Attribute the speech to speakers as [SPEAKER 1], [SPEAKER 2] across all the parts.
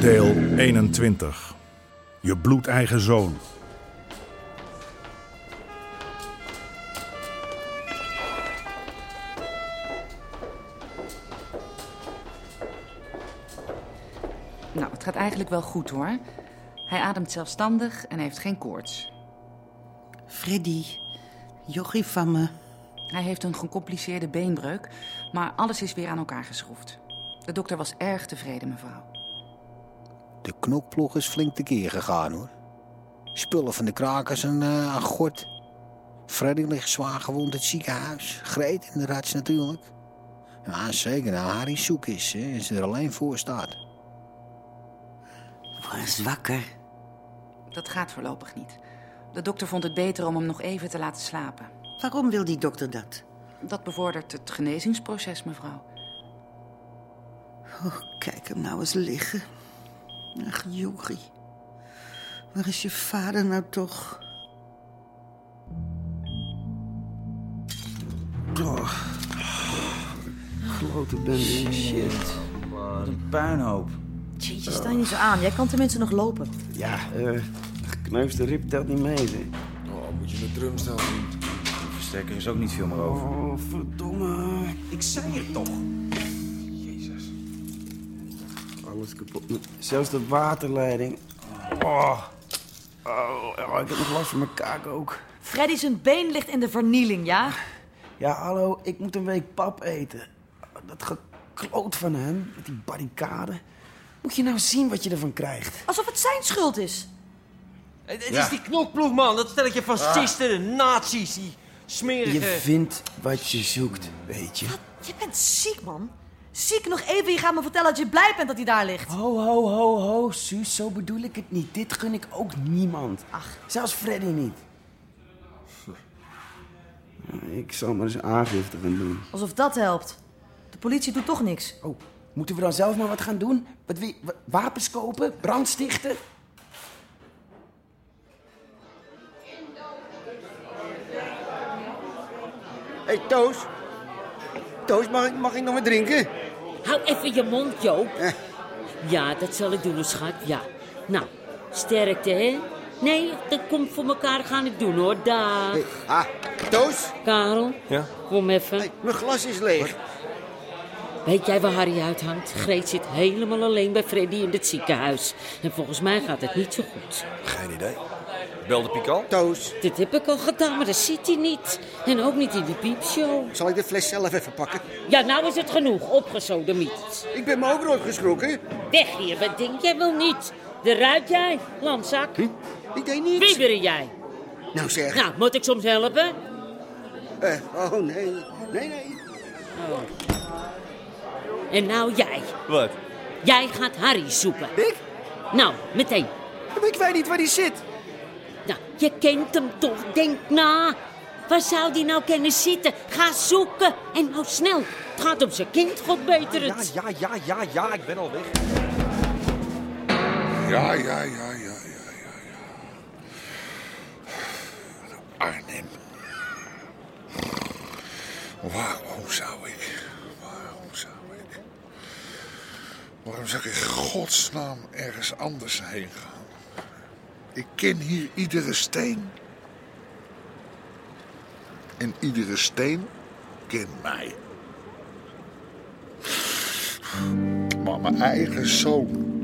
[SPEAKER 1] Deel 21. Je bloedeigen zoon.
[SPEAKER 2] Nou, het gaat eigenlijk wel goed hoor. Hij ademt zelfstandig en heeft geen koorts.
[SPEAKER 3] Freddy, jochie van me.
[SPEAKER 2] Hij heeft een gecompliceerde beenbreuk, maar alles is weer aan elkaar geschroefd. De dokter was erg tevreden, mevrouw.
[SPEAKER 4] De knokploeg is flink tekeer gegaan hoor. Spullen van de krakers en eh aan gort. Freddy ligt zwaar gewond in het ziekenhuis. Greet in de rats natuurlijk. Ja, zeker nou Harry zoek is hè, en ze er alleen voor staat.
[SPEAKER 3] Was wakker.
[SPEAKER 2] Dat gaat voorlopig niet. De dokter vond het beter om hem nog even te laten slapen.
[SPEAKER 3] Waarom wil die dokter dat?
[SPEAKER 2] Dat bevordert het genezingsproces, mevrouw.
[SPEAKER 3] Oh, kijk hem nou eens liggen. Ach, jochie. Waar is je vader nou toch?
[SPEAKER 5] Shit. Wat een puinhoop.
[SPEAKER 6] Jeetje, sta je niet zo aan. Jij kan tenminste nog lopen.
[SPEAKER 3] Ah,
[SPEAKER 5] Ja, eh gekneusde rib telt niet mee, zeg. Versterker is ook niet veel meer over. Oh, verdomme. Ik zei het toch. Jezus. Alles kapot. Zelfs de waterleiding. Oh. Oh, oh, ik heb nog last van mijn kaak ook.
[SPEAKER 6] Freddy zijn been ligt in de vernieling, ja?
[SPEAKER 5] Ja, hallo, ik moet een week pap eten. Dat gekloot van hem, met die barricade. Moet je nou zien wat je ervan krijgt.
[SPEAKER 6] Alsof het zijn schuld is.
[SPEAKER 7] Het, het is die knokploeg, man. Dat stelletje fascisten, nazi's, die smerige...
[SPEAKER 5] Je vindt wat je zoekt, weet je.
[SPEAKER 6] Je bent ziek, man. Ziek nog even. Je gaat me vertellen dat je blij bent dat hij daar ligt.
[SPEAKER 5] Ho, ho, ho, ho, Suus, zo bedoel ik het niet. Dit gun ik ook niemand. Ach, zelfs Freddy niet. Ik zal maar eens aangifte gaan doen.
[SPEAKER 6] Alsof dat helpt. De politie doet toch niks.
[SPEAKER 5] Oh, moeten we dan zelf maar wat gaan doen? Wat, wil je- wa- wapens kopen? Brand stichten?
[SPEAKER 8] Hé, hey, Toos. Toos, mag ik, mag ik nog wat drinken?
[SPEAKER 9] Hou even je mond, Joop.
[SPEAKER 8] Eh.
[SPEAKER 9] Ja, dat zal ik doen, schat. Ja. Nou, sterkte, hè? Nee, dat komt voor elkaar gaan ik doen, hoor. Dag.
[SPEAKER 8] Hey, ah, Toos,
[SPEAKER 9] Karel, kom even.
[SPEAKER 8] hey, mijn glas is leeg.
[SPEAKER 9] Weet jij waar Harry uithangt? Greet zit helemaal alleen bij Freddy in het ziekenhuis. En volgens mij gaat het niet zo goed.
[SPEAKER 7] Belde Pikal?
[SPEAKER 8] Toos,
[SPEAKER 9] Dit heb ik al gedaan, maar daar zit hij niet. En ook niet in die piepshow.
[SPEAKER 8] zal ik de fles zelf even pakken?
[SPEAKER 9] Ja, nou is het genoeg. Opgesodemieterd.
[SPEAKER 8] Ik ben me ook rood geschrokken.
[SPEAKER 9] Weg hier, wat denk jij wel niet? De ruit jij, lamzak.
[SPEAKER 8] Hm? Ik deed niets.
[SPEAKER 9] Wie ben jij?
[SPEAKER 8] Nou zeg.
[SPEAKER 9] Nou, moet ik soms helpen?
[SPEAKER 8] eh, oh, nee. Nee, nee.
[SPEAKER 9] En nou jij. Wat? Jij gaat Harry zoeken.
[SPEAKER 8] Ik?
[SPEAKER 9] Nou, meteen.
[SPEAKER 8] Ik weet niet waar die zit.
[SPEAKER 9] Nou, je kent hem toch? Denk na. Waar zou die nou kunnen zitten? Ga zoeken. En nou snel. Het gaat om zijn kind, God beter het.
[SPEAKER 7] Ja, ja, ja, ja, ik ben al weg.
[SPEAKER 10] Ja, ja, ja, ja, ja, ja, ja. Arnhem. Waarom zou ik? Waarom zou ik? Waarom zou ik in godsnaam ergens anders heen gaan? Ik ken hier iedere steen. En iedere steen kent mij. Maar mijn eigen zoon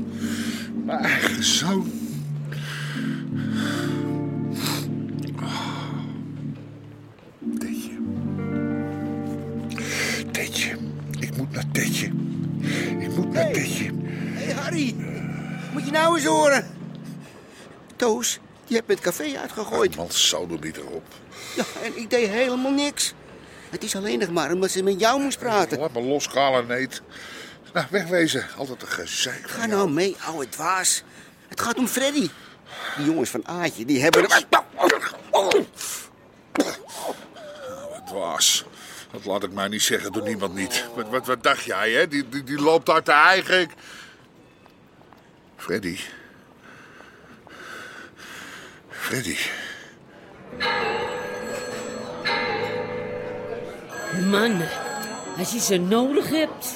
[SPEAKER 10] mijn eigen zoon. Tetje. Tetje. Ik moet naar Tetje. Ik moet naar Tetje.
[SPEAKER 8] Hé, Harry. Moet je nou eens horen. Toos, Je hebt me het café uitgegooid.
[SPEAKER 10] Man, zou er niet erop.
[SPEAKER 8] Ja, en ik deed helemaal niks. Het is alleen nog maar omdat ze met jou moest praten.
[SPEAKER 10] Laat me los, kale neet. Nou, wegwezen. Altijd een gezeik.
[SPEAKER 8] Ga nou mee, ouwe dwaas. Het gaat om Freddy. Die jongens van Aatje, die hebben...
[SPEAKER 10] Wat dwaas. Dat laat ik mij niet zeggen door niemand niet. Wat, wat, wat dacht jij, hè? Die, die, die loopt uit de eigen... Freddy. Freddy.
[SPEAKER 9] Man, als je ze nodig hebt.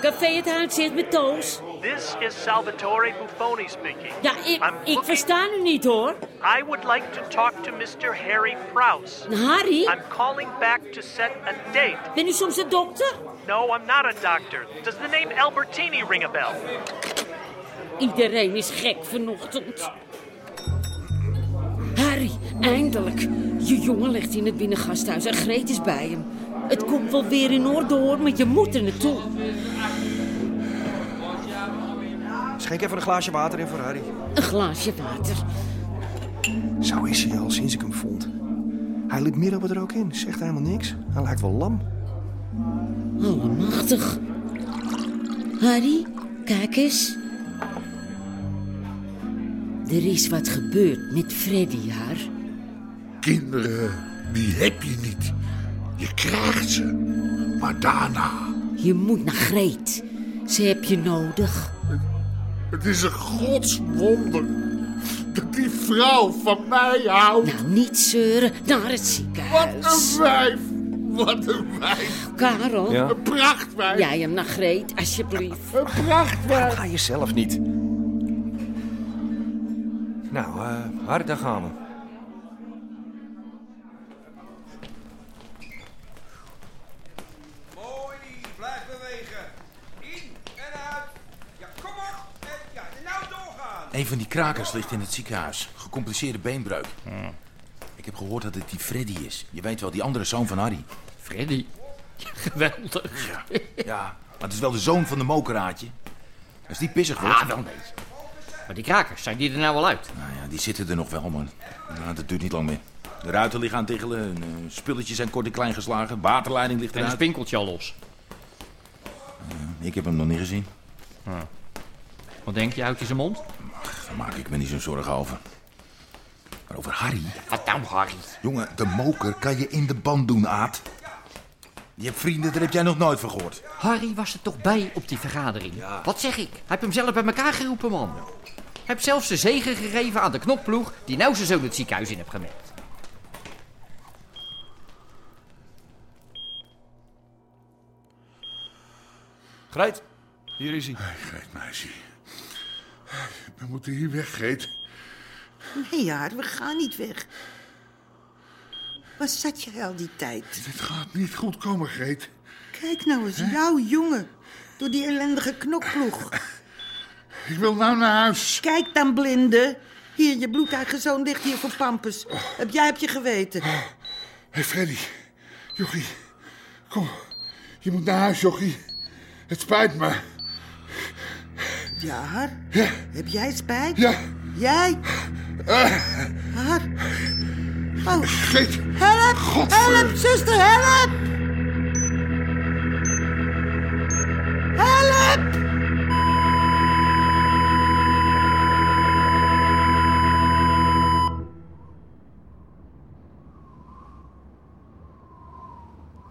[SPEAKER 9] Café Het Uitzicht met Toos.
[SPEAKER 11] This is Salvatore Buffoni speaking.
[SPEAKER 9] Ja, ik,
[SPEAKER 11] I'm
[SPEAKER 9] ik
[SPEAKER 11] looking-
[SPEAKER 9] versta nu niet hoor.
[SPEAKER 11] I would like to talk to Mr. Harry Prouse.
[SPEAKER 9] Harry?
[SPEAKER 11] I'm calling back to set a date.
[SPEAKER 9] Ben u soms een dokter?
[SPEAKER 11] No, I'm not a doctor. Does the name Albertini ring a bell?
[SPEAKER 9] Iedereen is gek vanochtend. Harry, eindelijk. Je jongen ligt in het binnengasthuis en Greet is bij hem. Het komt wel weer in orde hoor, maar je moet er naartoe.
[SPEAKER 5] Schenk even een glaasje water in voor Harry.
[SPEAKER 9] Een glaasje water.
[SPEAKER 5] Zo is hij al sinds ik hem vond. Hij liep midden er ook in. Zegt helemaal niks. Hij lijkt wel lam.
[SPEAKER 9] Allemachtig. Harry, kijk eens. Er is wat gebeurd met Freddy, haar.
[SPEAKER 10] Kinderen, die heb je niet. Je krijgt ze. Maar daarna...
[SPEAKER 9] Je moet naar Greet. Ze heb je nodig.
[SPEAKER 10] Het is een godswonder dat die vrouw van mij houdt.
[SPEAKER 9] Nou, niet zeuren. Naar het ziekenhuis.
[SPEAKER 10] Wat een wijf. Wat een wijf.
[SPEAKER 9] Karel.
[SPEAKER 5] Ja?
[SPEAKER 10] Een prachtwijf.
[SPEAKER 9] Jij hem naar Greet, alsjeblieft.
[SPEAKER 10] Een prachtwijf.
[SPEAKER 5] Ga jezelf niet. Nou, eh Harry, daar gaan we.
[SPEAKER 12] Blijf bewegen. In en uit. Ja, kom op. En, ja, nou doorgaan.
[SPEAKER 13] Een van die krakers ligt in het ziekenhuis. Gecompliceerde beenbreuk.
[SPEAKER 10] Hmm.
[SPEAKER 13] Ik heb gehoord dat het die Freddy is. Je weet wel, die andere zoon van Harry. Freddy? Geweldig. Ja, ja, maar het is wel de zoon van de mokeraadje. Als die pissig wordt...
[SPEAKER 14] Ah, wel een beetje. Maar die krakers, zijn die er nou al uit?
[SPEAKER 13] Nou ja, die zitten er nog wel, man. Nou, dat duurt niet lang meer. De ruiten liggen aan het tiggelen, en, eh, spulletjes zijn kort en klein geslagen, waterleiding ligt
[SPEAKER 14] En
[SPEAKER 13] eruit. Eh,
[SPEAKER 14] een spinkeltje al los.
[SPEAKER 13] Ik heb hem nog niet gezien.
[SPEAKER 14] Wat denk je, houdt hij zijn mond?
[SPEAKER 13] Daar maak ik me niet zo'n zorgen over. Maar over Harry...
[SPEAKER 14] Wat nou, Harry?
[SPEAKER 13] Jongen, de moker kan je in de band doen, Aad. Je hebt vrienden, daar heb jij nog nooit van gehoord.
[SPEAKER 14] Harry was er toch bij op die vergadering? Wat zeg ik? Hij heeft hem zelf bij elkaar geroepen, man. Hij heeft zelfs zijn zegen gegeven aan de knopploeg die nou zijn zoon het ziekenhuis in heeft gemerkt.
[SPEAKER 5] Greet, hier is hij.
[SPEAKER 10] Greet, meisje. We moeten hier weg, Greet.
[SPEAKER 3] Nee, Jaar, we gaan niet weg. Waar zat je al die tijd?
[SPEAKER 10] Dit gaat niet goed komen, Greet.
[SPEAKER 3] Kijk nou eens, jouw jongen. Door die ellendige knokploeg.
[SPEAKER 10] Ik wil nou naar huis.
[SPEAKER 3] Kijk dan, blinde. Hier, je bloedeigen zoon ligt hier voor Pampus. Heb jij heb je geweten?
[SPEAKER 10] Hé, hey, Freddy. Jochie. Kom. Je moet naar huis, Jochie. Het spijt me.
[SPEAKER 3] Ja, Har?
[SPEAKER 10] Ja.
[SPEAKER 3] Heb jij spijt?
[SPEAKER 10] Ja.
[SPEAKER 3] Jij? Har? Oh.
[SPEAKER 10] Geet.
[SPEAKER 3] Help! Help, zuster, help! Help!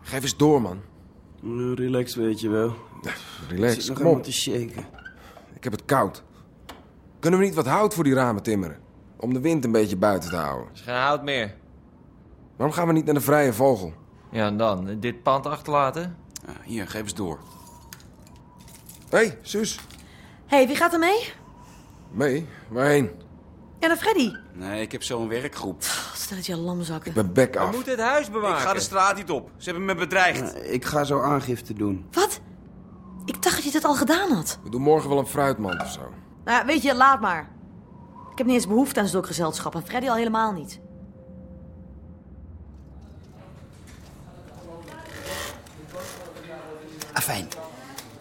[SPEAKER 5] Geef eens door, man.
[SPEAKER 12] Relax, weet je wel.
[SPEAKER 5] Relax,
[SPEAKER 12] Zit nog
[SPEAKER 5] kom
[SPEAKER 12] helemaal
[SPEAKER 5] op.
[SPEAKER 12] te shaken.
[SPEAKER 5] Ik heb het koud. Kunnen we niet wat hout voor die ramen timmeren? Om de wind een beetje buiten te houden.
[SPEAKER 7] Er is geen hout meer.
[SPEAKER 5] Waarom gaan we niet naar de vrije vogel?
[SPEAKER 7] Ja, en dan? eh, Dit pand achterlaten?
[SPEAKER 10] Ah,
[SPEAKER 5] hier, geef eens door. Hé, hey, zus.
[SPEAKER 6] Hé, hey, wie gaat er mee?
[SPEAKER 5] Mee? Waarheen?
[SPEAKER 6] Ja, naar Freddy.
[SPEAKER 15] Nee, ik heb zo'n werkgroep.
[SPEAKER 6] Stel dat je lamzakken.
[SPEAKER 5] Mijn bek
[SPEAKER 7] We
[SPEAKER 5] af.
[SPEAKER 7] moeten het huis bewaken.
[SPEAKER 15] Ik ga de straat niet op. Ze hebben me bedreigd.
[SPEAKER 5] Ik ga zo aangifte doen.
[SPEAKER 6] Wat? Ik dacht dat je dat al gedaan had.
[SPEAKER 5] We doen morgen wel een fruitmand of zo.
[SPEAKER 6] Nou, ja, weet je, laat maar. Ik heb niet eens behoefte aan zulk gezelschap en Freddy al helemaal niet.
[SPEAKER 16] Afijn,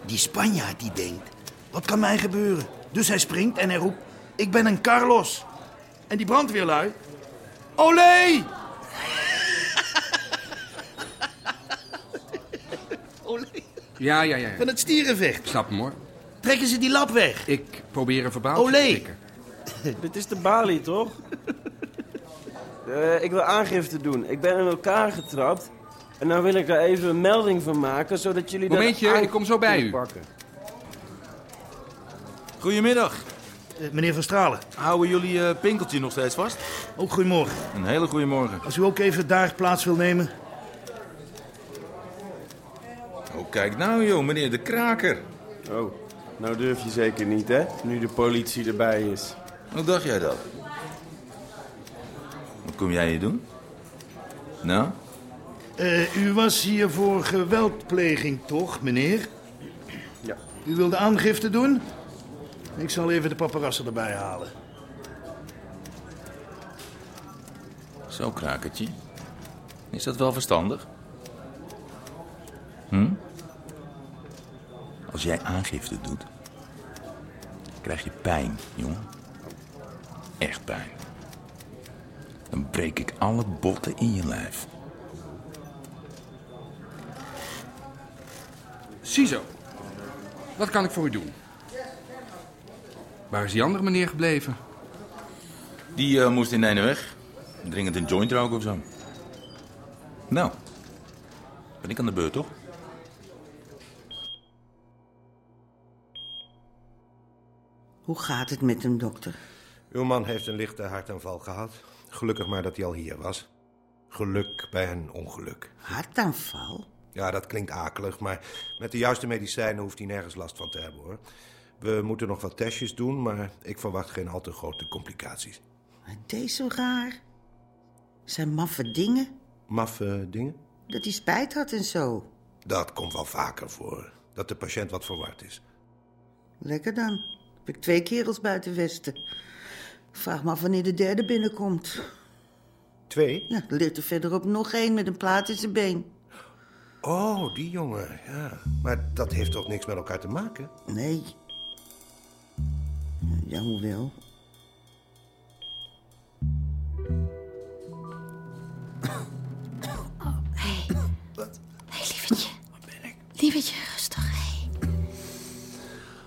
[SPEAKER 16] die Spanjaard die denkt, wat kan mij gebeuren? Dus hij springt en hij roept, ik ben een Carlos.
[SPEAKER 17] En die brandweerlui. Olé!
[SPEAKER 13] Ja, ja, ja.
[SPEAKER 17] Van het stierenvecht.
[SPEAKER 13] Snap hem hoor.
[SPEAKER 17] Trekken ze die lap weg.
[SPEAKER 13] Ik probeer een verbaal te
[SPEAKER 17] Olé!
[SPEAKER 13] trekken.
[SPEAKER 18] Dit is de balie, toch? Eh, ik wil aangifte doen. Ik ben in elkaar getrapt. En nou wil ik daar even een melding van maken, zodat jullie... daar
[SPEAKER 13] Momentje,
[SPEAKER 18] aan
[SPEAKER 13] ik kom zo bij
[SPEAKER 18] kunnen
[SPEAKER 13] u.
[SPEAKER 18] pakken.
[SPEAKER 19] Goedemiddag.
[SPEAKER 17] meneer Van Stralen.
[SPEAKER 19] Houden jullie eh, pinkeltje nog steeds vast?
[SPEAKER 17] Ook goedemorgen.
[SPEAKER 19] Een hele goede morgen.
[SPEAKER 17] Als u ook even daar plaats wil nemen.
[SPEAKER 19] Oh, kijk nou joh, meneer de kraker.
[SPEAKER 18] Oh, nou durf je zeker niet, hè? Nu de politie erbij is.
[SPEAKER 19] Hoe dacht jij dat? Wat kom jij hier doen? Nou?
[SPEAKER 17] Eh, u was hier voor geweldpleging, toch, meneer?
[SPEAKER 18] Ja.
[SPEAKER 17] U wilde aangifte doen? Ik zal even de paparazzen erbij halen.
[SPEAKER 19] Zo, krakertje. Is dat wel verstandig? Hm? Als jij aangifte doet, krijg je pijn, jongen. Echt pijn. Dan breek ik alle botten in je lijf.
[SPEAKER 13] Ziezo. Wat kan ik voor u doen? Waar is die andere meneer gebleven?
[SPEAKER 19] Die eh, moest in ene weg. Dringend een joint roken of zo. Nou, ben ik aan de beurt, toch?
[SPEAKER 5] Hoe gaat het met hem, dokter?
[SPEAKER 10] Uw man heeft een lichte hartaanval gehad. Gelukkig maar dat hij al hier was. Geluk bij een ongeluk.
[SPEAKER 5] Hartaanval?
[SPEAKER 10] Ja, dat klinkt akelig, maar met de juiste medicijnen hoeft hij nergens last van te hebben hoor. We moeten nog wat testjes doen, maar ik verwacht geen al te grote complicaties.
[SPEAKER 5] Deze raar. Zijn maffe dingen.
[SPEAKER 10] Maffe eh, dingen?
[SPEAKER 5] Dat hij spijt had en zo.
[SPEAKER 10] Dat komt wel vaker voor. Dat de patiënt wat verward is.
[SPEAKER 5] Lekker dan. Heb ik twee kerels buiten Westen. Vraag maar wanneer de derde binnenkomt.
[SPEAKER 10] Twee?
[SPEAKER 5] Ja, er ligt er verderop nog één met een plaat in zijn been.
[SPEAKER 10] Oh, die jongen, ja. Maar dat heeft toch niks met elkaar te maken?
[SPEAKER 5] Nee. Ja, hoewel.
[SPEAKER 6] Hé, lievertje. Waar ben ik? Lievertje, rustig. Hé.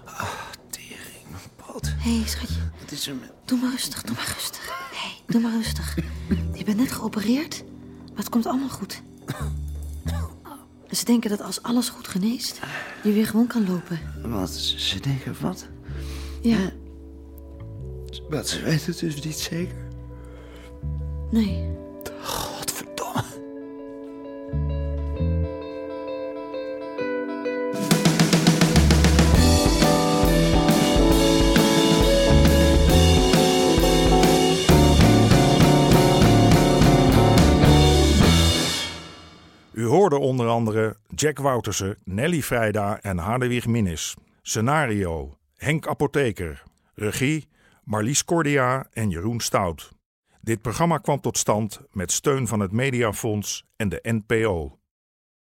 [SPEAKER 6] Ah, tering, mijn pot. Hé, schatje. Wat is er met... Doe maar rustig, doe maar rustig. Hé, doe maar rustig. Je bent net geopereerd, maar het komt allemaal goed. Ze denken dat als alles goed geneest, je weer gewoon kan lopen.
[SPEAKER 20] Wat? Ze denken wat?
[SPEAKER 6] Ja,
[SPEAKER 20] Wat, ze weten het dus niet zeker?
[SPEAKER 6] nee.
[SPEAKER 1] U hoorde onder andere Jack Woutersen, Nelly Vrijda en Hadewig Minnis. Scenario: Henk Apotheker. Regie: Marlies Cordia en Jeroen Stout. Dit programma kwam tot stand met steun van het Mediafonds en de NPO.